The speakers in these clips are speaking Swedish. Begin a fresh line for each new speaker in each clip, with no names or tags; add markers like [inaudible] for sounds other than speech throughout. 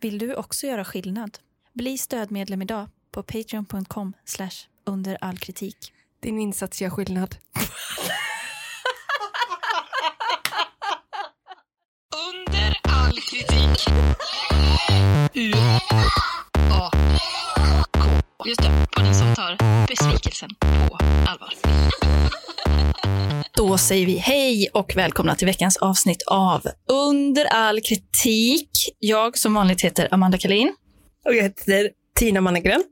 Vill du också göra skillnad? Bli stödmedlem idag på patreon.com under all kritik.
Din insats gör skillnad.
Under all kritik. U A K. Just det, podden som tar besvikelsen på allvar.
Då säger vi hej och välkomna till veckans avsnitt av Under all kritik. Jag som vanligt heter Amanda Kalin.
Och jag heter Tina Mannegren.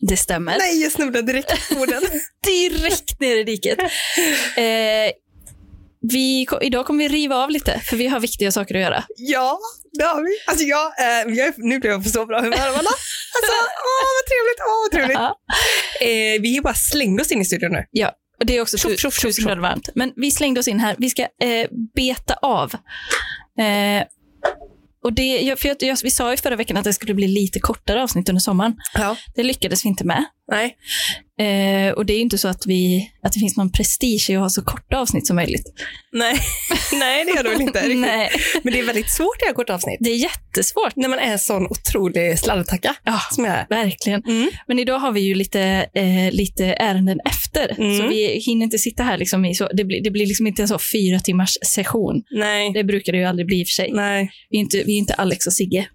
Det stämmer.
Nej, jag snubblade direkt på [laughs] orden.
Direkt ner i diket. Eh, vi, ko- idag kommer vi riva av lite, för vi har viktiga saker att göra.
ja, det har vi. Alltså jag, eh, jag, är- nu blev jag på så bra humör. Amanda. [laughs] Alltså, åh vad trevligt, åh vad trevligt.
Ja.
Eh, vi bara slängde oss in i studion nu.
Och det är också
Tjoff,
tu-
tjoff, tjoff,
tusen
tjoff.
grader varmt. Men vi slängde oss in här. Vi ska eh, beta av. Eh, och det, jag, för jag, jag, vi sa ju förra veckan att det skulle bli lite kortare avsnitt under sommaren.
Ja.
Det lyckades vi inte med.
Nej.
Eh, och det är ju inte så att, vi, att det finns någon prestige i att ha så korta avsnitt som möjligt.
[laughs] Nej. Nej, det gör du väl inte. riktigt.
Nej,
Men det är väldigt svårt att göra korta avsnitt.
det är jättesvårt.
När man är en sån otrolig sladdertacka
Ja,
som jag är.
verkligen.
Mm.
Men idag har vi ju lite, eh, lite ärenden efter,
Mm.
så vi hinner inte sitta här. Liksom i så, det, blir, det blir liksom inte en så fyra timmars session.
Nej.
Det brukar det ju aldrig bli i och för sig.
Nej.
Vi är inte, vi är inte Alex och Sigge.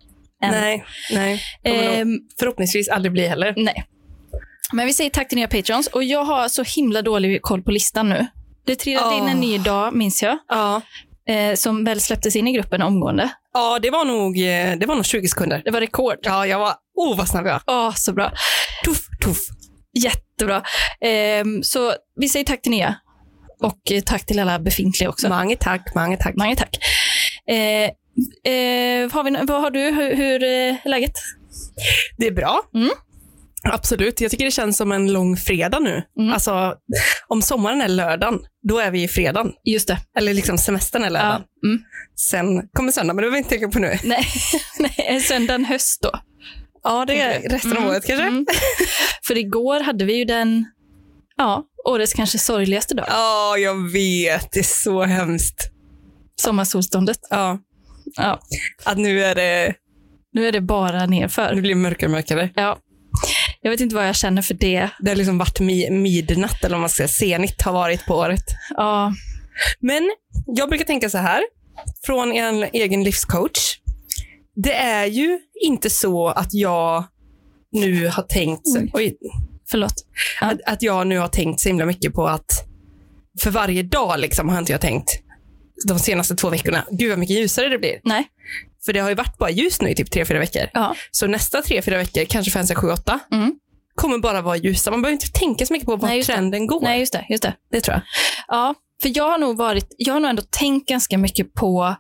än.
Nej. Nej.
Ehm,
Förhoppningsvis aldrig bli heller.
nej. Men vi säger tack till nya patrons. Och jag har så himla dålig koll på listan nu. Det trillade in
Åh.
en ny dag, minns jag,
Ja.
eh, som väl släpptes in i gruppen omgående.
Ja, det var nog, eh, det var nog 20 sekunder.
Det var rekord.
Ja, jag var, oh vad snabb jag var.
Åh, så bra.
Tuff, tuff.
Jättebra. Ehm, så vi säger tack till nya. Och eh, tack till alla befintliga också.
Mange tack, mange tack.
Många tack. Eh, eh, har vi, nå- vad har du? Hur, hur eh, är läget?
Det är bra.
Mm.
Absolut. Jag tycker det känns som en lång fredag nu.
Mm.
Alltså, om sommaren är lördagen, då är vi i fredagen.
Just det.
Eller liksom semestern är lördagen.
Ja. Mm.
Sen kommer söndag, men det behöver vi inte tänka på nu.
[laughs] Nej, nej, söndagen höst då.
Ja, det är
Okej.
[laughs] resten av
Mm,
året kanske.
mm. För igår hade vi ju den, ja, årets kanske sorgligaste dag.
Ja, jag vet. Det är så hemskt.
Sommarsolståndet.
Ja,
Ja,
att nu är det,
nu är det bara
nu
nerför.
blir det mörkare och mörkare.
Ja. Jag vet inte vad jag känner för det.
Det har liksom varit mi- midnatt, eller om man ska säga, senigt har varit på året.
Ja,
Men jag brukar tänka så här, från en egen livscoach. Det är ju inte så att jag nu har tänkt, så-
Oj.
oj,
förlåt.
att, att jag nu har tänkt så himla mycket på att för varje dag liksom har inte jag tänkt de senaste två veckorna. Gud vad mycket ljusare det blir.
Nej.
För det har ju varit bara ljus nu i typ tre, fyra veckor.
Ja.
Så nästa tre, fyra veckor, kanske fem, sex, sju, åtta,
Mm.
kommer bara vara ljusa. Man behöver inte tänka så mycket på var
Nej, just det.
trenden går.
Nej, just det. Just det.
Det tror jag.
Ja, för jag har nog varit, jag har nog ändå tänkt ganska mycket på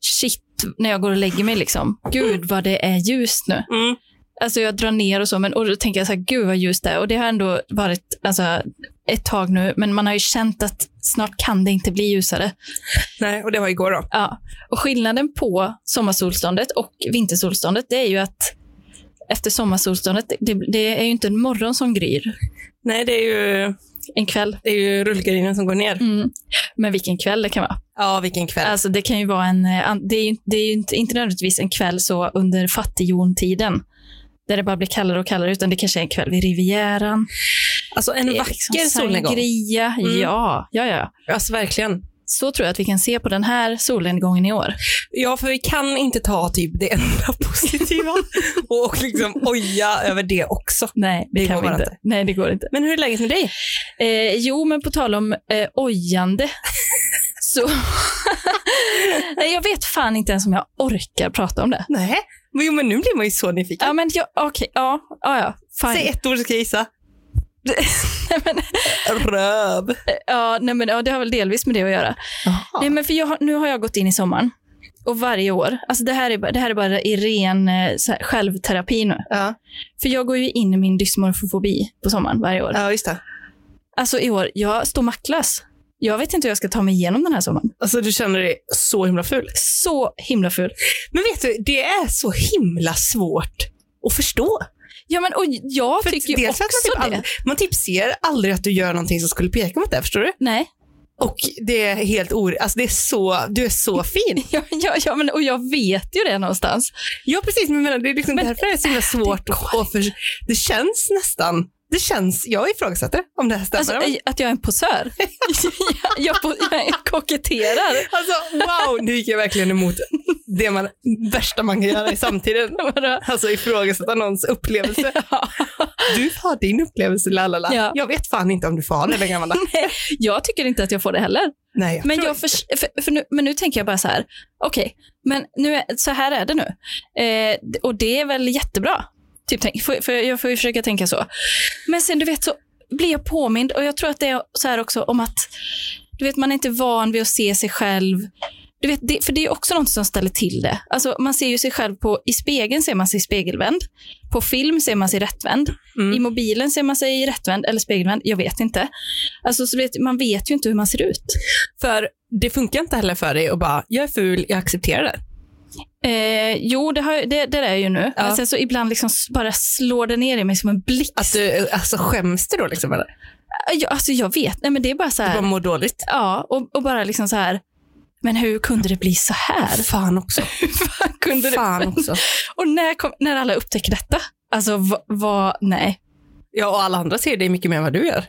shit när jag går och lägger mig liksom. Gud vad det är ljust nu.
Mm.
Alltså jag drar ner och så, men och då tänker jag så här, gud vad ljust det är. Och det har ändå varit alltså, ett tag nu, men man har ju känt att snart kan det inte bli ljusare.
Nej, och det var igår då.
Ja. Och skillnaden på sommarsolståndet och vintersolståndet, det är ju att efter sommarsolståndet, det, det är ju inte en morgon som gryr,
Nej, det är ju
en kväll.
Det är ju rullgardinen som går ner.
Mm. Men vilken kväll det kan vara.
Ja, vilken kväll.
Alltså det kan ju vara en, eh, an- det är ju, det är ju inte, inte nödvändigtvis en kväll så under fattighjontiden, där det bara blir kallare och kallare, utan det kanske är en kväll vid Rivieran.
Alltså en
Det är
vacker
liksom
solnedgång.
sangria.
Mm.
Ja, ja, ja.
Alltså verkligen.
Så tror jag att vi kan se på den här solnedgången i år.
Ja, för vi kan inte ta typ det enda [laughs] positiva
[laughs]
och, och liksom oja över det också.
Nej, det,
Det
kan
går
vi
bara
inte.
inte.
Nej, det går inte.
Men hur är läget med dig?
Eh, jo, men på tal om eh, ojande. [laughs] så... [laughs] Nej, jag vet fan inte ens om jag orkar prata om det.
Nej. Men, jo, men nu blir man ju så nyfiken.
Ja, men jag, okej, ja, ja, ja, fine.
Säg ett ord så ska jag gissa.
[laughs] Nej, men,
Röv.
ja, nej, men, ja, det har väl delvis med det att göra. Nej, men för jag, har- nu har jag gått in i sommaren. Och varje år, alltså det här är bara, det här är bara i ren eh, så här, självterapi nu.
Ja.
För jag går ju in i min dysmorfofobi på sommaren varje år.
ja, just det.
Alltså i år, jag står maktlös. Jag vet inte hur jag ska ta mig igenom den här sommaren.
Alltså du känner dig så himla ful.
Så himla ful.
Men vet du, det är så himla svårt att förstå.
Ja, men och jag
För
tycker ju
dels
också
att man, typ
det.
aldrig, man typ ser aldrig att du gör någonting som skulle peka mot det, förstår du?
Nej, [laughs]
Och det är helt or... Alltså det är så, du är så fin.
Ja, ja, ja, men, och jag vet ju det någonstans.
[laughs] Ja, precis. Men jag menar, det är liksom
Men-
därför det är så himla svårt att... att för, det känns nästan... Det känns... Jag ifrågasätter om det här stämmer.
Alltså,
Alltså,
eh, att jag är en
[laughs]
posör. jag, jag, po- jag koketterar. [laughs]
Alltså, wow, nu gick jag verkligen emot det man, värsta man kan göra i samtiden.
Vadå?
Alltså ifrågasätta någons upplevelse. [laughs]
Ja.
Du får ha din upplevelse, lalala.
Ja.
Jag vet fan inte om du får ha den längre, Amanda.
Jag tycker inte att jag får det heller.
Nej, jag
Men,
tror
jag förs- för, för nu, men nu tänker jag bara så här, okej, men nu är, så här är det nu. Eh, d- och det är väl jättebra. Typ, tänk, för, för jag får ju försöka tänka så. Men sen du vet så blir jag påmind och jag tror att det är så här också om att du vet, man är inte van vid att se sig själv. Du vet, det, för det är också något som ställer till det. Alltså, man ser ju sig själv på, i spegeln ser man sig spegelvänd. På film ser man sig rättvänd.
Mm.
I mobilen ser man sig rättvänd eller spegelvänd. Jag vet inte. Alltså, så vet, man vet ju inte hur man ser ut.
För det funkar inte heller för dig att bara, jag är ful, jag accepterar det.
Eh, jo, det, har, det, det är jag ju nu.
Ja.
Men sen så ibland liksom s- bara slår det ner i mig som en blixt.
Att du, alltså skäms du då liksom? Eller? Du
jag, alltså, jag vet, nej, men det är bara så här.
bara mår dåligt?
Ja, och, och bara liksom så här. Men hur kunde det bli så här?
[laughs] Fan också.
Fan, [laughs] kunde det?
Fan också.
Och när, kom, när alla upptäcker detta? Alltså, vad, vad
[laughs]
nej.
Ja, och alla andra ser dig mycket mer än vad du gör.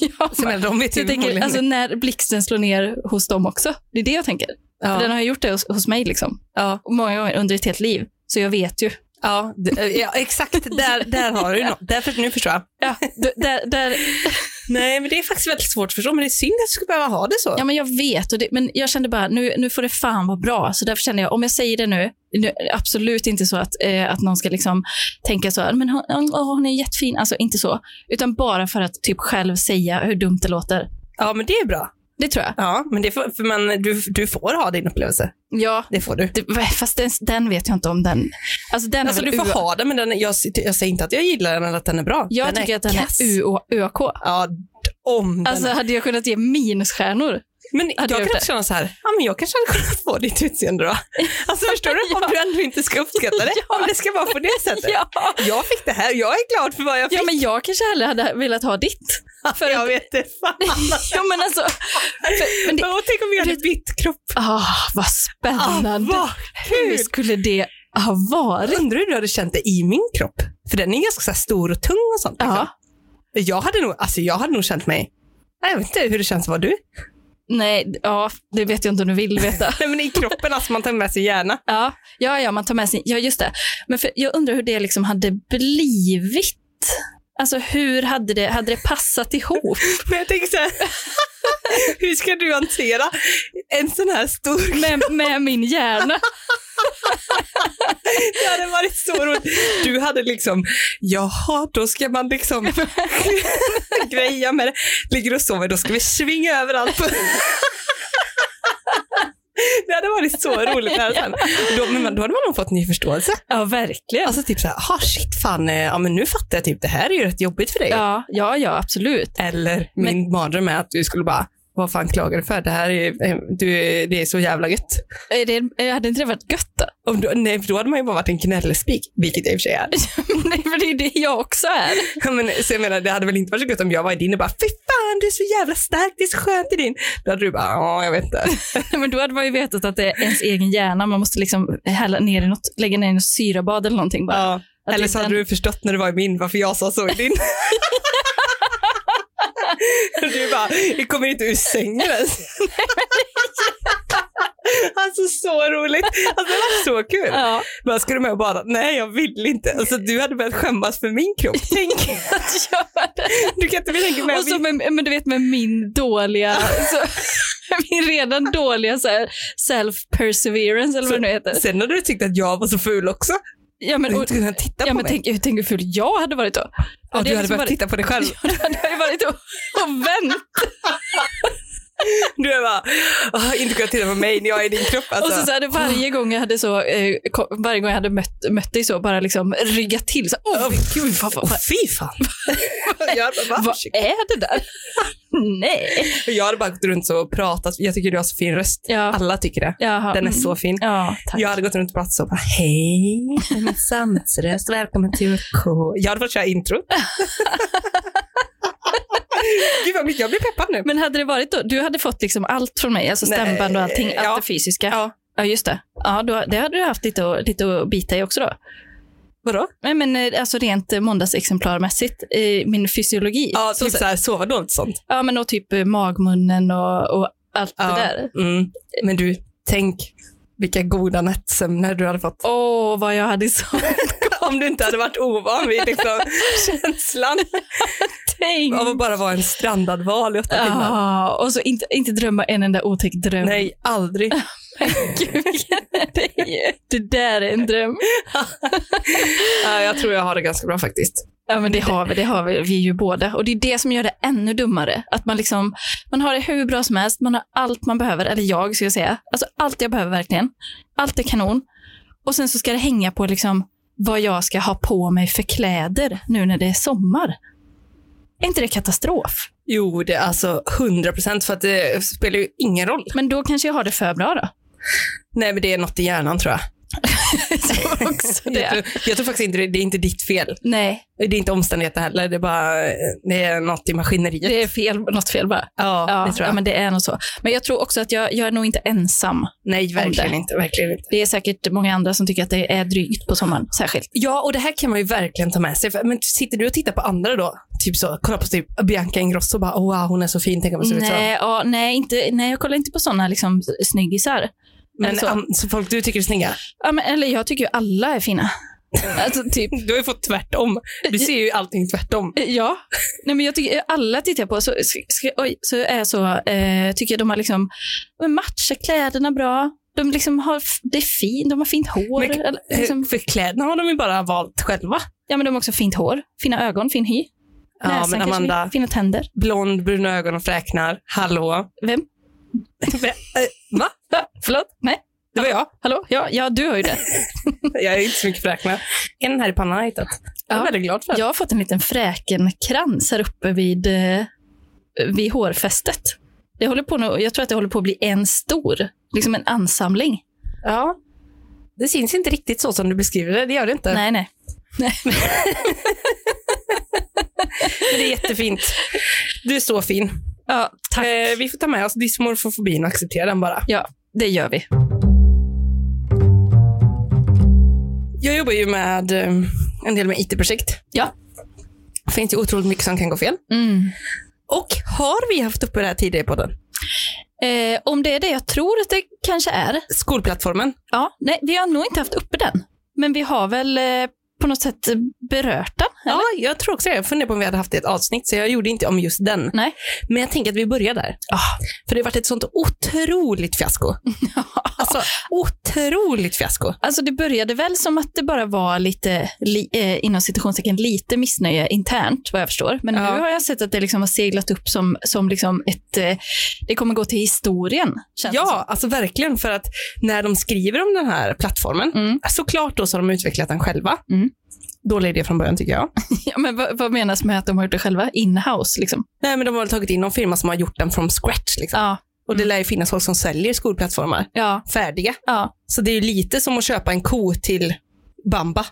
Ja,
Så jag menar, de vet ju
jag tänker,
förmodligen-
alltså, när blixten slår ner hos dem också. Det är det jag tänker. För den
ja.
har ju gjort det hos, hos mig liksom.
Ja.
många gånger under ett helt liv. Så jag vet ju.
Ja, det- ja, exakt. Där, där har du något. Därför, nu förstår jag.
Ja, [laughs] d- där, där,
Nej, men det är faktiskt väldigt svårt att förstå, men det är synd att du skulle behöva ha det så.
Ja, men jag vet, och det, men jag kände bara nu, nu får det fan vara bra. Så därför känner jag, om jag säger det nu, nu är det absolut inte så att, eh, att någon ska liksom tänka så här, men hon, hon, åh, hon är jättefin, alltså inte så. Utan bara för att typ själv säga hur dumt det låter.
Ja, men det är bra.
Det tror jag.
Ja, men det får, för man, du, du får ha din upplevelse.
Ja,
Det får du.
det, fast den, den vet jag inte om den. Alltså den
Alltså
är väl
du får
UA.
ha den, men den, jag, jag säger inte att jag gillar den eller att den är bra.
Jag
den
tycker
är
att den
kass.
är UA UAK.
Ja, d- om den
Alltså
är.
hade jag kunnat ge minusstjärnor?
Men jag
hade jag
kan
gjort
också känna så här, ja men jag kanske hade kunnat få ditt
[laughs]
utseende då. Alltså förstår du? Om du ändå inte ska uppskatta det. Om det ska vara
[laughs]
på det sättet.
Ja.
Jag fick det här, jag är glad för vad jag fick.
ja, men jag kanske hellre hade velat ha
[laughs]
ditt. för-
jag vet det. Fan.
Jo, men alltså. För, men det,
Åh, tänk om vi hade
Du-
bytt kropp.
Ah, vad
Ah,
spännande.
vad
Hur
kul!
skulle det ha varit?
Undrar hur du hade känt det i min kropp? För den är ganska så här stor och tung och sånt. liksom.
Ja.
Jag, hade nog, alltså, jag hade nog känt mig, Nej, jag vet inte hur det känns att vara du.
Nej, ja, det vet jag inte om du vill [laughs] veta.
Nej, men i kroppen, alltså man tar med sig gärna.
Ja, ja, ja man tar med sin... Ja, just det. Men för, jag undrar hur det liksom hade blivit. Alltså hur hade det, hade det passat [laughs] ihop?
Men jag tänker så här, [laughs] hur ska du hantera en sån här stor
Med, med min hjärna.
Det hade varit så roligt. Du hade liksom, jaha, då ska
[laughs]
man liksom greja med det. Ligger och sover, då ska vi svinga överallt. På. Det hade varit så roligt. Här sen. Då, men då hade man nog fått ny förståelse.
Ja, verkligen.
Alltså typ så här, "Ah, shit fan, eh, ja men nu fattar jag typ, det här är ju rätt jobbigt för dig.
Ja, ja, ja absolut.
Eller min mardröm är att du skulle bara, vad fan klagar du för? Det här är, eh, du, är- det är så jävla gött.
Är Det, eh, hade inte det varit gött då? [laughs]
Om du, nej, för då hade man ju bara varit en gnällspik, vilket jag i och för sig är.
Nej, för det är det jag också är.
Ja, men, så jag menar, det hade väl inte varit så gött om jag var i din och bara fy fan du är så jävla stark, det är så skönt i din. Då hade du bara ja, jag vet inte.
Nej, Men då hade man ju vetat att det är ens egen hjärna. Man måste liksom hälla ner i något, lägga ner i något syrabad eller någonting bara.
Ja.
Att
Eller
det
så
är
hade
den-
du förstått när du var i min varför jag sa så i din. [laughs] du bara, jag kommer inte ur
[laughs]
sängen ens. Alltså så roligt. Alltså det var så kul.
Ja.
Bara, ska du med och bada? Nej, jag vill inte. Alltså du hade börjat skämmas för min kropp. Tänk,
[laughs] att göra det.
du kan inte tänka mig.
Och så med, men du vet med min dåliga,
[laughs]
så, min redan dåliga så här self-perseverance eller vad det nu heter.
Sen hade du tyckt att jag var så ful också.
Ja,
Du
men,
hade
och,
inte kunnat titta
ja,
på
men
mig.
tänk, tänk hur ful jag hade varit då.
Ja,
Och det
du
är
hade
liksom
behövt
varit-
titta på dig själv.
[laughs] Ja, då hade jag ju varit och, och vänt.
[laughs] Du är bara, "Ah, inte kunnat titta på mig när jag är i din kropp. Alltså.
Och så, så hade varje gång jag hade så, eh, ko- varje gång jag hade mött, mött dig så, bara liksom ryggat till. Så, åh,
Oh,
men gud, vad, vad,
Åh,
[laughs]
fy fan. jag, hade bara, "Va?"
vad är det där? [laughs] Nej.
jag hade bara gått runt så och pratat. Jag tycker du har så fin röst.
Ja.
Alla tycker det.
Jaha,
Den är
mm.
så fin.
Ja, tack.
Jag hade gått runt och pratat så bara, hej, det är min
[laughs]
sammetsröst, välkommen till UK. Jag hade fått köra intro. Gud vad mycket, jag blir peppad nu.
Men hade det varit då, du hade fått liksom allt från mig, alltså
Nej,
stämband och allting,
ja.
allt det fysiska.
Ja.
Ja, just det. Ja, då, det hade du haft lite, att- lite att bita i också då.
Vadå?
Nej, men eh, alltså rent eh, måndagsexemplarmässigt, eh, min fysiologi.
Ja,
typ
typ såhär, sova dåligt sånt.
Ja, men och typ eh, magmunnen och, och allt
Ja.
det där.
Mm. Men du, tänk vilka goda nattsömner du hade fått.
Åh, vad jag hade så [laughs]
Om du inte hade varit ovan vid [laughs] liksom, känslan
tänkt.
av att bara vara en strandad val i åtta timmar.
Ja, och så inte, inte drömma en enda otäck dröm.
Nej, aldrig.
Gud, [laughs] det, är ju- det där är en dröm.
Ja, jag tror jag har det ganska bra faktiskt.
Ja, men det har vi, det har vi, vi är ju båda. Och det är det som gör det ännu dummare. Att man liksom, man har det hur bra som helst, man har allt man behöver, eller jag ska jag säga. Alltså allt jag behöver verkligen. Allt är kanon. Och sen så ska det hänga på liksom vad jag ska ha på mig för kläder nu när det är sommar. Är inte det katastrof?
Jo, det är alltså 100 procent för att det spelar ju ingen roll.
Men då kanske jag har det för bra då. [laughs]
Nej, men det är något i hjärnan tror jag.
Så
[laughs]
också
Jag,
det.
tror, jag tror faktiskt inte det, det är inte ditt fel.
Nej,
Det är inte omständigheter heller, det är bara eh, det är något i maskineriet.
det är fel, något fel bara.
ja,
Ja,
det tror
ja,
jag.
men det är nog så. Men jag tror också att jag, jag är nog inte ensam.
Nej, verkligen
det.
inte, verkligen inte.
Det är säkert många andra som tycker att det är drygt på sommaren, särskilt.
Ja, och det här kan man ju verkligen ta med sig. För, men sitter du och tittar på andra då? Typ så, kolla på typ Bianca Ingrosso och bara "Oh, wow, hon är så fin, tänk om jag ser ut så.
Nej, ja, nej, inte, nej, jag kollar inte på sådana liksom, snyggisar.
Men
så.
an- så folk du tycker är snygga?
Ja, men, eller jag tycker ju alla är
[laughs]
fina. Alltså, typ.
Du har ju fått tvärtom. Du ser ju allting tvärtom.
Ja, nej, men jag tycker alla tittar jag på så, sk- sk- oj, så är jag så, eh, tycker jag de har liksom, de matchar kläderna bra. De liksom har, f- det är fin, de har fint hår.
Men-
eller,
Liksom.
liksom,
För kläderna har de ju bara valt själva.
ja, men de har också fint hår, fina ögon, fin hy,
Ja,
näsan
men
kanske,
Amanda,
fina tänder.
blond, bruna ögon och fräknar. Hallå? [laughs]
Vem?
Eh, Va?
Förlåt? Nej,
Det var jag.
hallå? Ja, ja du har ju det.
Jag är inte så mycket fräknar. En här i pannan har jag hittat. Jag är
Ja.
väldigt glad för.
Jag har fått en liten fräkenkrans här uppe vid, eh, vid hårfästet. Det håller på nu, jag tror att det håller på att bli en stor, liksom en ansamling.
Ja. Det syns inte riktigt så som du beskriver det. Det gör det inte.
Nej, nej.
Men det är [laughs] jättefint. Du är så fin.
Ja, tack.
Eh, vi får ta med oss dysmorfofobin och acceptera den bara.
Ja, det gör vi.
Jag jobbar ju med eh, en del med IT-projekt.
Ja.
Det finns ju otroligt mycket som kan gå fel.
Mm.
Och har vi haft uppe det här tidigare i podden?
Eh, om det är det jag tror att det kanske är.
Skolplattformen.
Ja, nej, vi har nog inte haft uppe den. Men vi har väl eh, på något sätt berört den. eller?
Ja, jag tror också det. Jag funderar på om vi hade haft det i ett avsnitt, så jag gjorde inte om just den.
Nej.
Men jag tänker att vi börjar där.
Ah.
För det har varit ett sånt
[laughs]
otroligt fiasko. alltså, otroligt fiasko.
Alltså det började väl som att det bara var lite, li, eh, inom citationstecken, lite missnöje internt vad jag förstår. Men
Ja.
nu har jag sett att det liksom har seglat upp som, som liksom ett, eh, det kommer gå till historien. Känns det
Ja, alltså verkligen. För att när de skriver om den här plattformen,
som. Mm.
såklart då så har de utvecklat den själva.
Mm.
Dålig idé från början tycker jag.
Ja, men vad, vad menas med att de har gjort det själva? Inhouse liksom.
Nej, men de har väl tagit in någon firma som har gjort den från scratch. Liksom.
Ja,
Och det lär ju finnas folk som säljer skolplattformar
ja,
färdiga.
ja.
Så det är ju lite som att köpa en ko till [laughs] Bamba.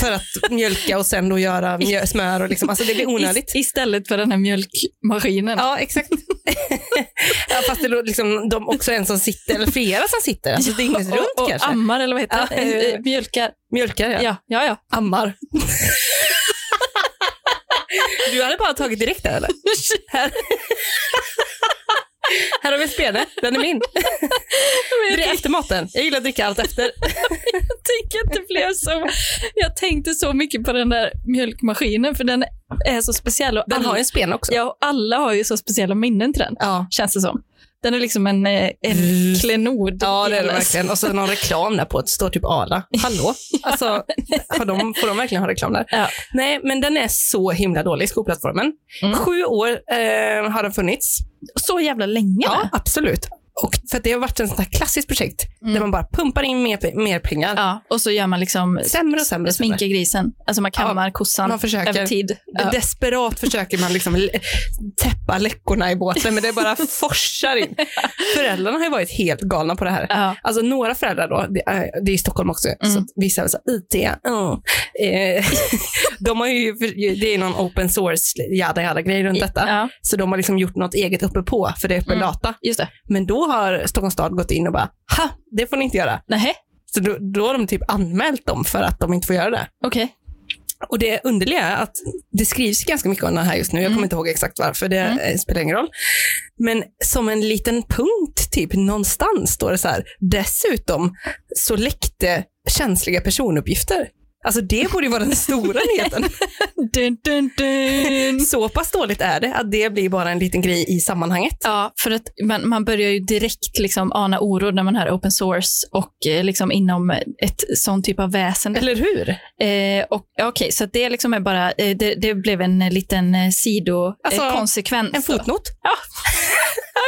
för att mjölka och sen då göra mjö- smör och liksom. Alltså det blir onödigt.
Ist- istället för den här mjölkmaskinen.
Ja, exakt. [laughs] ja, fast det låter liksom, de också en som sitter, eller flera som sitter. Alltså dygnet runt
[laughs] och, och
kanske.
ammar eller vad heter
Ja,
det?
ja, ja.
Eh, Mjölkar.
Mjölkar ja.
Ja, ja, ja.
Ammar. [laughs] du hade bara tagit direkt där eller? [laughs] här. här har vi en spene, den är [laughs] min.
Men
Det
jag
är efter maten. Jag gillar att dricka allt efter.
tänker att det blev så. [laughs] Jag tänkte så mycket på den där mjölkmaskinen för den är så speciell. Och
Den
alla,
har ju en spen också.
ja, och alla har ju så speciella minnen till den,
Ja.
känns det som. Den är liksom en, eh, en
Mm.
klenod.
Ja,
i
det är det
hela-
verkligen. Och så någon reklam där på, det står typ Arla. [laughs] Hallå? Alltså, har de, får de verkligen ha reklam där?
Ja.
Nej, men den är så himla dålig, skolplattformen.
Mm.
Sju år eh, har den funnits.
Så jävla länge. va?
absolut. Och för att det har varit en sån här klassiskt projekt där man bara pumpar in mer, pe- mer pengar.
Ja, och så gör man liksom
Sämre och sämre. och sämre.
sminka grisen. Alltså man kammar kossan
man försöker.
över tid. Ja.
Desperat försöker man liksom l- täppa läckorna i båten, men det [laughs] bara forsar in. Föräldrarna har ju varit helt galna på det här.
Ja.
Alltså några föräldrar då, det är, det är i Stockholm också, så
Mm.
att vissa är så här, IT, ja. eh, [laughs] de har ju, för- det är någon open source, jada jada grej runt detta.
Ja,
Så de har liksom gjort något eget uppe på för det är öppen
Mm.
data.
just det.
Men då har Stockholms stad gått in och bara, ha, det får ni inte göra.
Nej,
Så då, då har de typ anmält dem för att de inte får göra det.
okej.
Och det underliga är att det skrivs ganska mycket om det här just nu. Jag kommer
Mm.
inte ihåg exakt varför, det
Mm.
eh, spelar ingen roll. Men som en liten punkt, typ någonstans, står det så här. Dessutom så läckte känsliga personuppgifter. Alltså det borde ju vara den stora nyheten.
Dun, dun, dun.
Så pass dåligt är det att det blir bara en liten grej i sammanhanget.
[laughs] Ja, för att man, man börjar ju direkt liksom ana oro när man hör open source och eh, liksom inom ett sån typ av väsen.
Eller hur?
Eh, och, ja, okej, så att det liksom är bara, eh, det, det blev en eh, liten eh, sidokonsekvens.
Alltså,
Eh, konsekvens
En
då.
fotnot.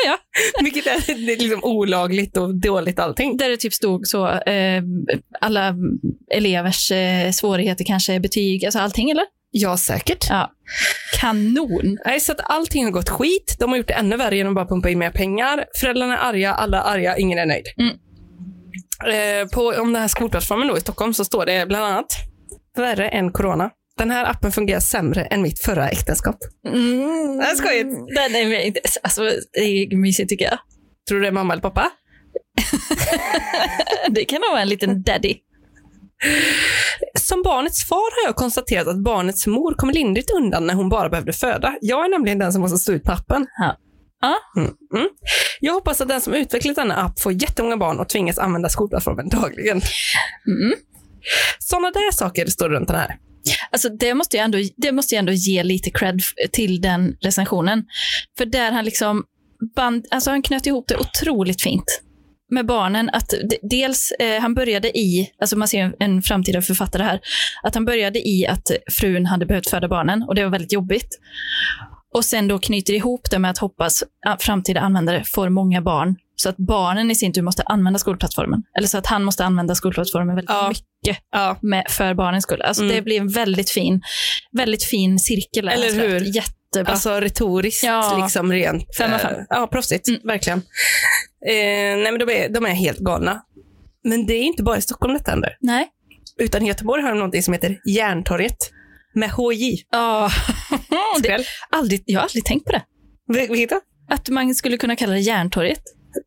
Ja, ja.
Vilket är, det är liksom olagligt och dåligt allting.
Där det typ stod så, eh, alla elevers eh, svårigheter kanske är betyg, alltså allting eller?
Ja, säkert.
Ja. Kanon.
Nej, så att allting har gått skit. De har gjort det ännu värre genom att bara pumpa in mer pengar. Föräldrarna är arga, alla är arga, ingen är nöjd.
Mm.
Eh, på, om den här skolplattformen då i Stockholm så står det bland annat värre än corona. Den här appen fungerar sämre än mitt förra äktenskap.
Mm.
Det är skojigt.
Den är, alltså, det är mysigt tycker jag.
Tror du det är mamma eller pappa?
Det kan nog vara en liten daddy.
Som barnets far har jag konstaterat att barnets mor kom lindrigt undan när hon bara behövde föda. Jag är nämligen den som måste stå ut med appen.
Ja. Ja.
Mm, mm. Jag hoppas att den som utvecklat denna app får jättemånga barn och tvingas använda skolplattformen dagligen.
Mm.
Sådana där saker står runt den här.
Alltså, det, måste jag ändå, det måste jag ändå ge lite cred f- till den recensionen. För där han liksom band, alltså han knöt ihop det otroligt fint med barnen. Att d- dels, eh, han började i, alltså man ser en, en framtida författare här, att han började i att frun hade behövt föda barnen och det var väldigt jobbigt. Och sen då knyter ihop det med att hoppas att framtida användare får många barn så att barnen i sin tur måste använda skolplattformen. Eller så att han måste använda skolplattformen väldigt
Ja.
mycket
Ja.
med, för barnens skull. Alltså
Mm.
Det blir en väldigt fin, väldigt fin cirkel. här,
Eller
alltså.
hur?
Jättebra.
Alltså retoriskt,
Ja.
liksom rent.
Fem av fem.
eh, Ja, proffsigt.
Mm.
Verkligen. Eh, nej, men de är, de är helt galna. Men det är inte bara i Stockholm detta händer.
Nej.
Utan i Göteborg har de någonting som heter Järntorget. Med HJ.
Ja. [laughs] det,
Skräll.
aldrig, jag har aldrig tänkt på det.
Vil- Vilket då?
Att man skulle kunna kalla det Järntorget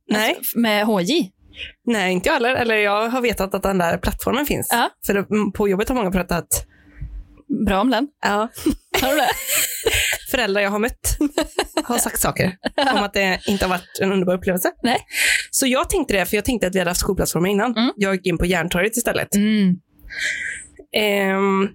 Nej.
F- med HJ.
nej, inte jag heller. Eller jag har vetat att den där plattformen finns.
Ja.
För mm, på jobbet har många pratat.
Bra om den.
Ja.
Har du
[laughs]
det?
föräldrar jag har mött
[laughs]
har sagt saker om att det inte har varit en underbar upplevelse.
Nej.
Så jag tänkte det, för jag tänkte att vi hade haft skolplattformen innan.
Mm.
Jag gick in på Järntorget istället.
Mm.
Ehm,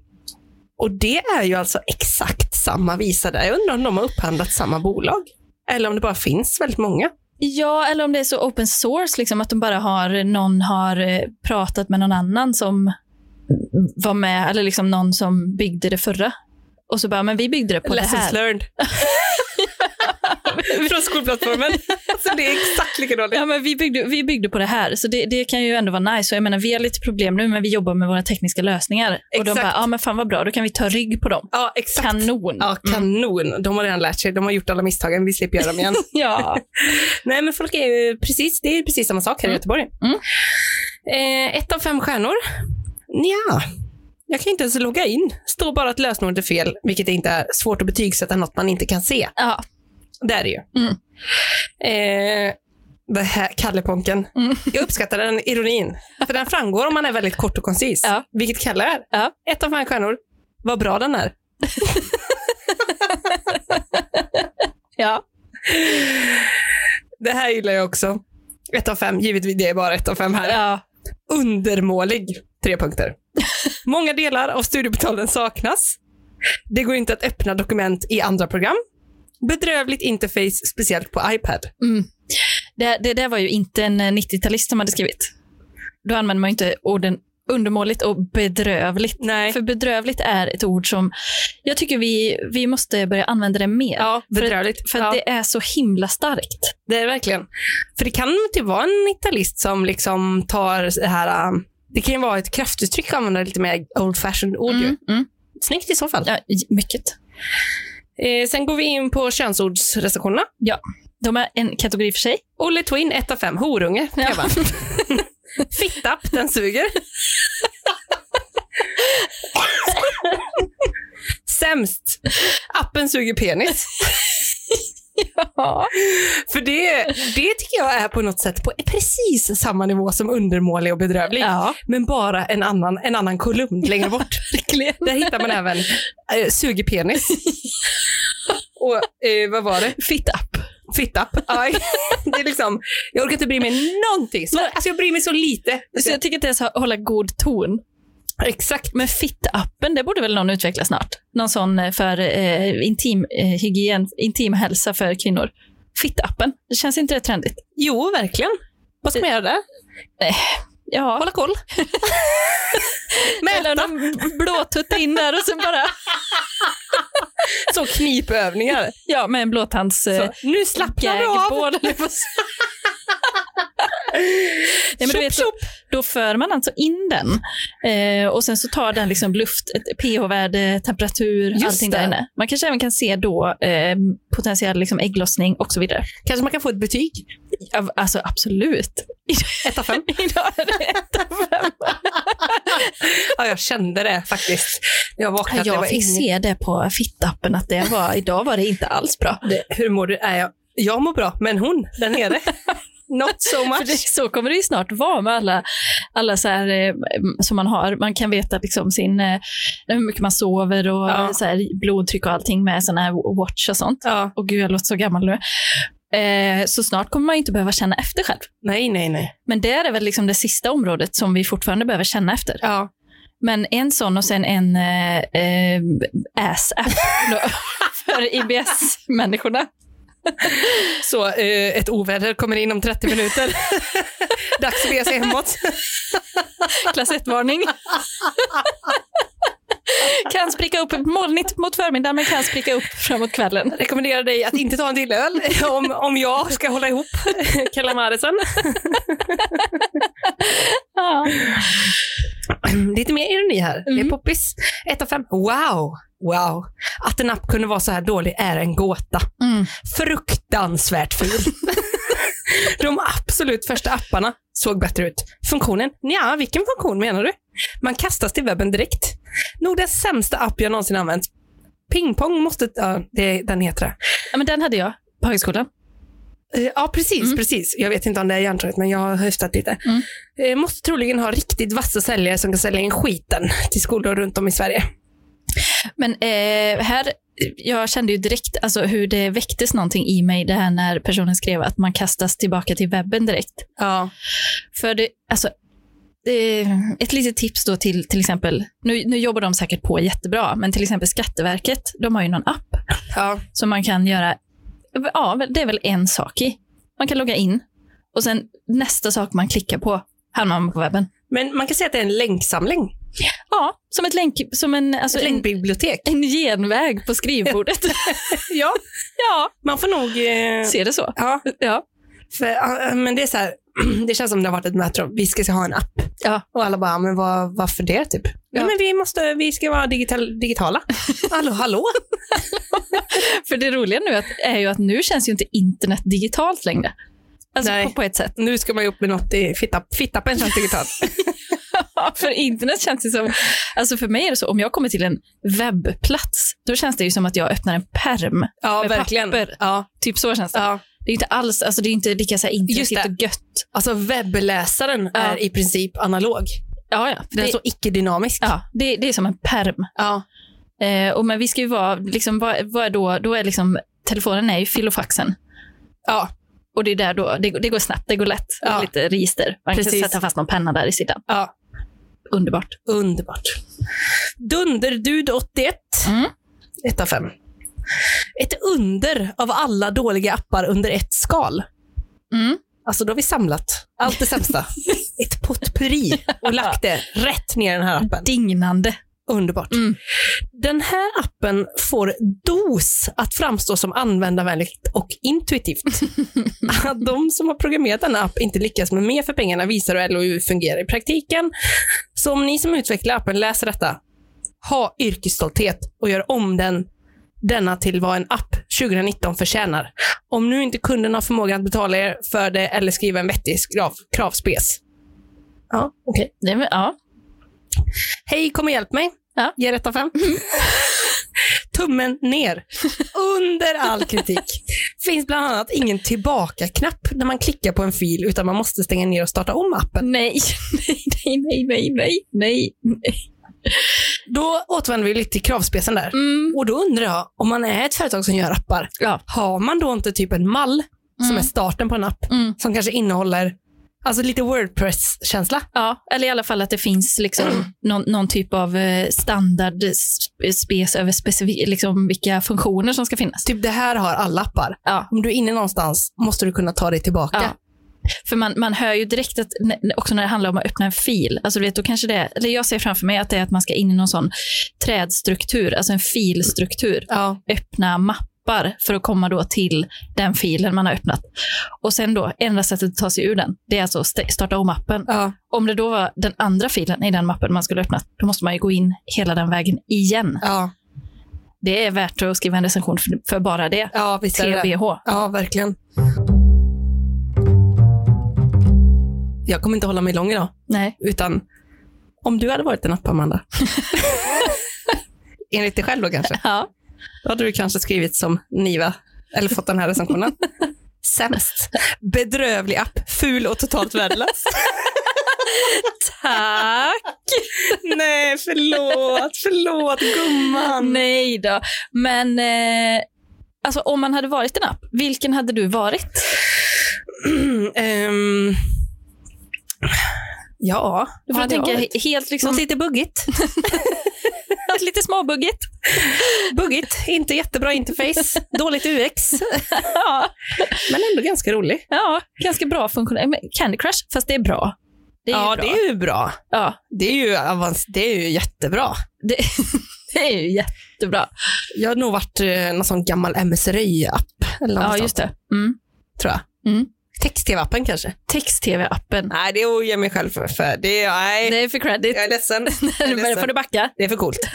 och det är ju alltså exakt samma visa där. Jag undrar om de har upphandlat samma bolag. Eller om det bara finns väldigt många.
Ja, eller om det är så open source, liksom, att de bara har, någon har eh, pratat med någon annan som var med, eller liksom någon som byggde det förra. Och så bara, men vi byggde det på det här. [laughs]
Lessons learned. Från
[laughs]
skolplattformen. Alltså det är exakt likadant.
Ja, men vi, byggde, vi byggde på det här, så det, det kan ju ändå vara nice. Och jag menar, vi har lite problem nu, men vi jobbar med våra tekniska lösningar. Och de
Exakt.
bara, ja men fan vad bra, då kan vi ta rygg på dem.
Ja, exakt.
Kanon. Mm.
Ja, kanon. De har redan lärt sig. De har gjort alla misstagen. Vi slipper göra dem
[laughs]
igen. [laughs]
ja.
Nej, men folk är ju precis, det är ju precis samma sak här i
Mm.
Göteborg.
Mm.
Eh, ett av fem stjärnor? Ja. Jag kan inte ens logga in. Står bara att lösenordet är fel, vilket det inte är. Svårt att betygsätta något man inte kan se.
ja.
Det är det ju.
Mm.
Eh, det här Kalleponken.
Mm.
Jag uppskattar den ironin. För den framgår om man är väldigt kort och koncis.
Ja.
Vilket Kalle är.
Ja.
Ett av fem stjärnor. Vad bra den är.
ja.
Det här gillar jag också. Ett av fem. Givetvis, det är bara ett av fem här.
ja.
undermålig. Tre [laughs] punkter. Många delar av studiepitalen saknas. Det går inte att öppna dokument i andra program. Bedrövligt interface, speciellt på iPad.
Mm. Det, det där var ju inte en eh, 90-talist som hade skrivit. Då använder man ju inte orden undermåligt och bedrövligt.
Nej.
För bedrövligt är ett ord som jag tycker vi, vi måste börja använda det mer.
Ja, bedrövligt.
För
ja.
det är så himla starkt.
Det är det verkligen. För det kan typ vara en italist som liksom tar det här, um, det kan ju vara ett kraftuttryck att använda lite mer old fashioned ord ju.
Mm, mm.
Snyggt i så fall.
Ja, mycket.
Eh, sen går vi in på könsordsrecensionerna.
De är en kategori för sig.
Olle Twin, 1 av 5, horunge.
Ja.
[laughs] Ja. Fittapp, den suger. Sämst. Appen suger penis.
[laughs] Ja.
För det, det tycker jag är på något sätt på precis samma nivå som undermålig och bedrövlig.
ja.
Men bara en annan, en annan kolumn längre bort.
Verkligen.
Där hittar man även eh,
[laughs]
suger penis. och eh, vad var det?
Fit up.
Fittapp.
[laughs]
Ja, det är liksom, jag orkar inte bry mig någonting. Så, alltså jag bryr mig så lite.
Så jag tycker att det är så här, hålla god ton.
Exakt.
Men fit-appen, det borde väl någon utveckla snart? Någon sån eh, för eh, intim, eh, hygien, intim hälsa för kvinnor. Fit-appen, det känns inte det trendigt?
Jo, verkligen. Vad ska man göra där?
Ja,
Hålla koll.
eller
Mäta.
någon blåtutt in där och sen
[laughs]
bara,
Så knipövningar.
ja med en blåtands... Eh,
Så, nu slappnar du av. [laughs]
gagbål. Nej, men du
Tjopp,
vet, så, då för man alltså in den eh, och sen så tar den liksom luft, ett pH-värde, temperatur,
Just
allting
det.
där inne. Man kanske även kan se då eh, potentiell liksom ägglossning och så vidare.
Kanske man kan få ett betyg.
Ja, Alltså absolut.
Ett av fem.
[laughs] Idag är det ett av fem.
Ja, jag kände det faktiskt. När jag vaknade. det var
Jag fick
inget-
se det på fittappen att det var, idag var det inte alls bra.
Det, hur mår du? Är jag, jag mår bra, men hon
[laughs]
där nere? Not so
För det,
much.
så kommer det ju snart vara med alla, alla så här, eh, som man har. Man kan veta liksom sin, eh, hur mycket man sover och
Ja.
så här, blodtryck och allting med sån här watch och sånt.
Ja.
Och gud, jag låter så gammal nu. Eh, så snart kommer man ju inte behöva känna efter själv.
Nej, nej, nej.
Men det är väl liksom det sista området som vi fortfarande behöver känna efter.
Ja.
Men en sån och sen en eh, eh, ass-app då, för IBS-människorna.
Så eh, ett oväder kommer in om 30 minuter.
[laughs]
Dags att bege sig hemåt.
Klass 1-varning. kan spricka upp molnigt mot förmiddagen men kan spricka upp framåt kvällen.
Rekommenderar dig att inte ta en till öl [laughs] om, om jag ska hålla ihop [laughs] kalamarisen.
Ja.
[clears throat] Lite mer ironi här. Det är
Mm.
poppis. 1 av 5. Wow! Wow. Att en app kunde vara så här dålig är en gåta.
Mm.
Fruktansvärt ful. [laughs] De absolut första apparna såg bättre ut. Funktionen? Nja, vilken funktion menar du? Man kastas till webben direkt. Nog den sämsta app jag någonsin använt. Pingpong måste... Ja, det, den heter det.
ja, men den hade jag på högskolan.
Eh, Ja, precis.
Mm.
precis. Jag vet inte om det är hjärntrött, men jag har höftat lite.
Mm.
Eh, Måste troligen ha riktigt vassa säljare som kan sälja in skiten till skolor runt om i Sverige.
Men eh, här, jag kände ju direkt alltså, hur det väcktes någonting i mig det här när personen skrev att man kastas tillbaka till webben direkt.
Ja.
För det, alltså, eh, ett litet tips då till till exempel, nu, nu jobbar de säkert på jättebra, men till exempel Skatteverket, de har ju någon app
ja.
som man kan göra, ja det är väl en sak i. Man kan logga in och sen nästa sak man klickar på hamnar man på webben.
Men man kan säga att det är en länksamling.
Ja, som ett länk, som en, alltså
Ett
en,
länkbibliotek.
en genväg på skrivbordet.
[laughs] Ja,
[laughs] ja,
man får nog... Eh,
ser det så?
ja,
Ja.
för, ja, men det är så här, [clears throat] det känns som det har varit ett möte om vi ska ha en app.
Ja.
Och alla bara, men vad, varför det typ?
Ja.
Nej, men vi, måste, vi ska vara digital, digitala.
[laughs]
Hallå, hallå?
För det roliga nu att, är ju att nu känns ju inte internet digitalt längre. Alltså
Nej.
på, på ett sätt.
Nu ska man ju upp med något i fitta, fittappen känns digitalt.
Ja, för internet känns det som... Alltså för mig är det så, om jag kommer till en webbplats, då känns det ju som att jag öppnar en perm.
Ja,
[laughs] Med
verkligen.
papper.
Ja,
Typ så känns det.
ja.
Det är inte alls, alltså det är inte lika så här
Just
interaktivt
det.
och gött.
Alltså webbläsaren
Ja.
är i princip analog.
Ja, ja.
Den är
Det,
så icke-dynamisk.
ja det, det är som en perm.
Ja.
Eh, och men vi ska ju vara, liksom, vad, vad är då, då är liksom, telefonen är ju filofaxen.
Ja.
Och det är där då, det, går- det går snabbt, det går lätt. Det är
Ja.
Lite register. Man
Precis.
kan sätta fast någon penna där i sidan.
ja.
Underbart.
Underbart. Dunderdud81.
Mm.
ett av fem Ett under av alla dåliga appar under ett skal.
Mm.
Alltså då har vi samlat allt det [laughs] sämsta. Ett potpurri och lagt det rätt ner i den här appen.
Dignande.
Underbart.
Mm.
Den här appen får DOS att framstå som användarvänligt och intuitivt. Att de som har programmerat denna app inte lyckas med mer för pengarna visar hur LOU fungerar i praktiken. Så om ni som utvecklar appen läser detta, ha yrkesstolthet och gör om den denna till vad en app 2019 förtjänar. Om nu inte kunden har förmågan att betala er för det eller skriva en vettig krav, kravspes. Ja, okej.
Nej, men, ja.
Hej, kom och hjälp mig.
Ja.
Ge ett
[laughs]
av fem. Tummen ner. Under all kritik. Finns bland annat ingen tillbaka-knapp när man klickar på en fil utan man måste stänga ner och starta om appen.
Nej, [laughs] nej, nej, nej, nej, nej, nej.
Då återvänder vi lite till kravspecen där.
Mm.
Och då undrar jag, om man är ett företag som gör appar,
Ja.
har man då inte typ en mall som
Mm.
är starten på en app
Mm.
som kanske innehåller alltså lite Wordpress-känsla?
Ja, eller i alla fall att det finns liksom någon, någon typ av eh, standard sp- spes över specifi- liksom vilka funktioner som ska finnas.
Typ det här har alla appar.
Ja.
Om du är inne någonstans måste du kunna ta dig tillbaka.
Ja. För man, man hör ju direkt att, n- n- också när det handlar om att öppna en fil, alltså du vet, då kanske det, eller jag ser framför mig att det är att man ska in i någon sån trädstruktur, alltså en filstruktur.
Ja.
öppna mappar för att komma då till den filen man har öppnat. Och sen då, enda sättet att ta sig ur den, det är alltså att st- starta om appen.
ja.
Om det då var den andra filen i den mappen man skulle öppna, då måste man ju gå in hela den vägen igen.
ja.
Det är värt att skriva en recension för, för bara det.
Ja, visst är det det.
TBH.
Ja, verkligen. Jag kommer inte hålla mig lång idag,
Nej.
utan om du hade varit en app, Amanda. [laughs] Enligt dig själv då kanske.
Ja.
Då hade du kanske skrivit som Niva, eller fått den här recensionen. Sämst. Bedrövlig app, ful och totalt värdelös.
Tack!
[laughs] Nej, förlåt, förlåt gumman.
Nej då. Men eh, alltså, om man hade varit en app, vilken hade du varit?
[clears throat] Ehm, ja,
Du får
hade jag
tänka
varit?
he- helt liksom,
Något lite buggigt.
allt lite småbuggigt.
Buggigt, inte jättebra interface, [laughs] dåligt UX,
Ja.
men ändå ganska rolig.
Ja, ganska bra funktion. Eh, men Candy Crush, fast det är bra. Det är
ja,
ju bra.
det är ju bra.
ja,
Det är ju, avans- det är ju jättebra.
det, det är ju jättebra.
Jag har nog varit eh, någon sån gammal MSRI-app eller något
Ja,
sånt,
just det. Mm.
tror jag.
Mm.
Text-tv-appen kanske?
Text-tv-appen.
Nej, det ger jag mig själv för. för det är, nej,
Det är för credit.
är [laughs] ledsen.
[laughs] Men får du backa.
Det är för coolt. [laughs]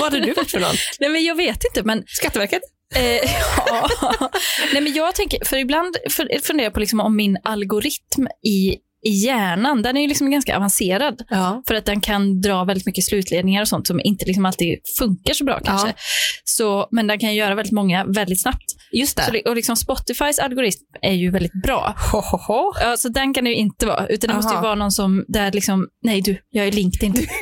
Vad hade du varit för någon?
Nej, men jag vet inte, men
Skatteverket?
Eh, [laughs] ja. Nej, men jag tänker, för ibland för- funderar jag på liksom om min algoritm i, i hjärnan, den är ju liksom ganska avancerad
Ja.
för att den kan dra väldigt mycket slutledningar och sånt som inte liksom alltid funkar så bra kanske.
Ja.
Så, men den kan göra väldigt många väldigt snabbt.
Just
Så
det.
det, och liksom Spotifys algoritm är ju väldigt bra.
Ho, ho, ho.
Ja, så den kan det ju inte vara, utan det måste ju
Aha.
vara någon som, där liksom, nej du, jag är LinkedIn.
[laughs]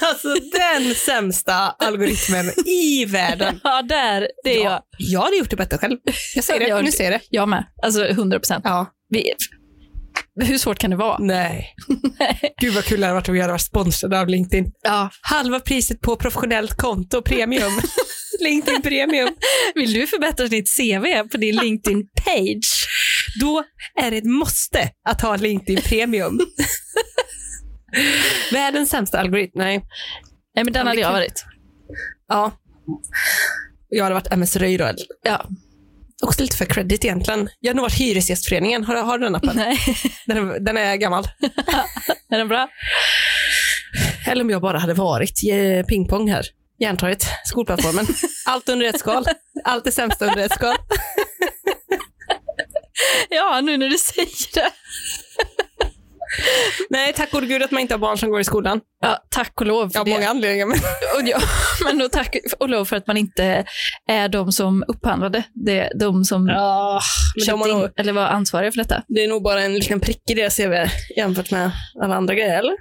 Alltså den sämsta algoritmen i världen.
Ja, där, det är
ja.
jag.
Jag hade gjort det bättre själv. Jag säger
Ja,
det,
det
nu
har du.
ser jag det.
Jag med, alltså 100 procent.
Ja.
Hur svårt kan det vara?
Nej. Gud vad kul det hade varit om vi hade varit sponsrade av LinkedIn.
Ja.
Halva priset på professionellt konto, [laughs] premium. LinkedIn premium.
Vill du förbättra ditt CV på din LinkedIn-page?
Då är det ett måste att ha LinkedIn [laughs] premium. Världens sämsta algoritm. Nej.
Nej, men den hade jag varit.
Ja. Jag hade varit MS Röj då.
Ja.
Också lite för credit egentligen. Jag hade nog varit Hyresgästföreningen. Har, du- har du den appen?
Nej,
Den är, den är gammal.
är den bra?
Eller om jag bara hade varit eh, pingpong här. Järntorget, [laughs] skolplattformen. Allt under ett skal. Allt det sämsta under ett skal.
Ja, nu när du säger det.
Nej, tack gode gud att man inte har barn som går i skolan.
Ja, tack och lov för
Av
det.
många anledningar. Men...
Och ja, [laughs] men då tack och lov för att man inte är de som upphandlade, det är de som
Ja, men de
köpte
har
in,
nog,
eller var ansvariga för detta.
det är nog bara en liten prick i deras CV jämfört med alla andra grejer, eller?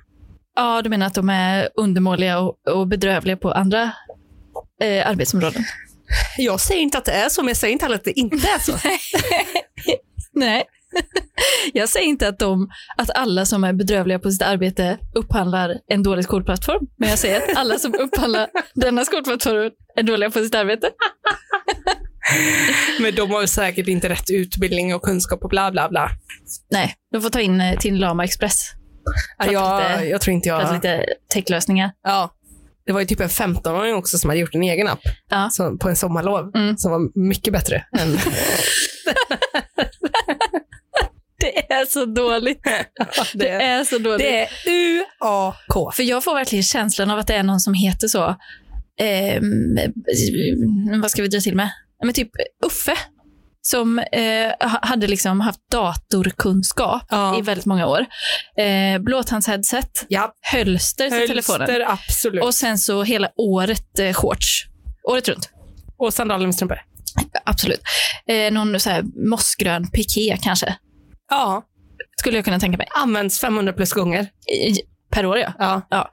Ja, du menar att de är undermåliga och, och bedrövliga på andra eh, arbetsområden?
Jag säger inte att det är så, men jag säger inte heller att det inte är så.
[laughs] Nej, Jag säger inte att, de, att alla som är bedrövliga på sitt arbete upphandlar en dålig skolplattform, men jag säger att alla som upphandlar denna skolplattform är dåliga på sitt arbete.
[laughs] Men de har ju säkert inte rätt utbildning och kunskap och bla bla bla.
Nej, de får ta in eh, till Lama Express.
Ja,
Pratat
jag,
lite-
jag tror inte
pratat
jag...
lite techlösningar.
Ja. Det var ju typ en 15-åring också som hade gjort en egen app
Ja.
som, på en sommarlov
Mm.
som var mycket bättre. [laughs] Än,
Det är så dåligt. Det är så dåligt.
det är UAK.
För jag får verkligen känslan av att det är någon som heter så. Ehm, vad ska vi dra till med? Ja, Men typ Uffe. Som eh, ha- hade liksom haft datorkunskap
Ja.
i väldigt många år. Eh, Blåtandsheadset,
Ja,
hölster till telefonen.
hölster absolut. Och,
Och sen så hela året eh, shorts. Året runt.
och sandaler med strumpor.
Absolut. Eh, någon så här mossgrön piké kanske.
Ja,
Skulle jag kunna tänka mig.
används 500 plus gånger.
I- Per år ja.
Ja.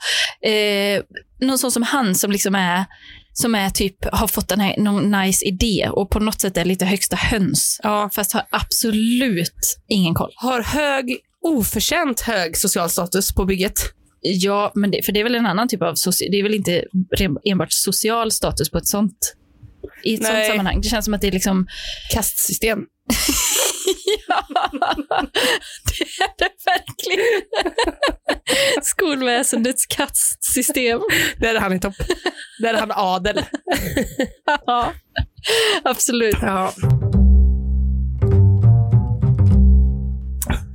eh, någon sån som han som liksom är som är typ, har fått den här, någon nice idé och på något sätt är lite högsta höns.
Ja.
Fast har absolut ingen koll.
Har hög, oförtjänt hög social status på bygget.
Ja, men det, för det är väl en annan typ av, soci- det är väl inte re- enbart social status på ett sånt, i ett sånt
Nej.
sammanhang. Det känns som att det är [laughs] liksom,
Kastsystem.
ja, det är det [laughs] verkligen. Skolväsendets kastsystem.
Där är han i [laughs] topp. Där är han adel.
Ja, absolut.
Ja.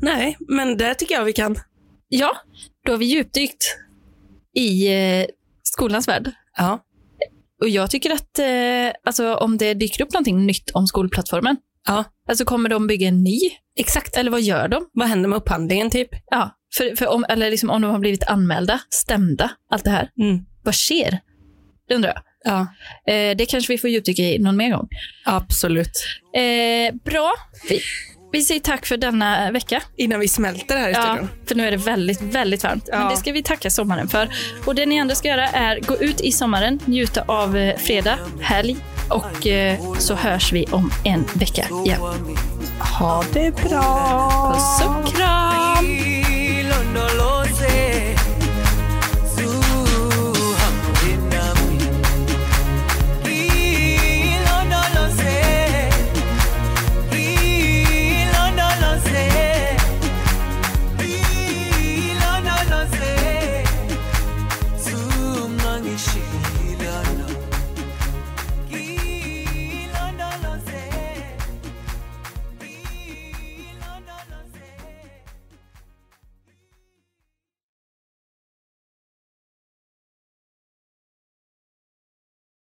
Nej, men det tycker jag vi kan.
Ja, då har vi djupdykt i eh, skolans värld.
Ja.
Och jag tycker att eh, alltså, om det dyker upp någonting nytt om skolplattformen,
Ja.
alltså kommer de bygga en ny? Exakt. Eller vad gör de?
Vad händer med upphandlingen typ?
Ja, för, för om, eller liksom, om de har blivit anmälda, stämda, allt det här.
Mm.
Vad sker? Det undrar jag.
Ja,
Eh, det kanske vi får djupdyka i någon mer gång.
absolut.
Eh, bra. Vi, vi säger tack för denna vecka.
Innan vi smälter här i
Ja,
studion.
för nu är det väldigt, väldigt varmt. Men
Ja.
det ska vi tacka sommaren för. Och det ni andra ska göra är gå ut i sommaren, njuta av eh, fredag, helg och eh, så hörs vi om en vecka igen.
Ha det bra.
Puss och kram!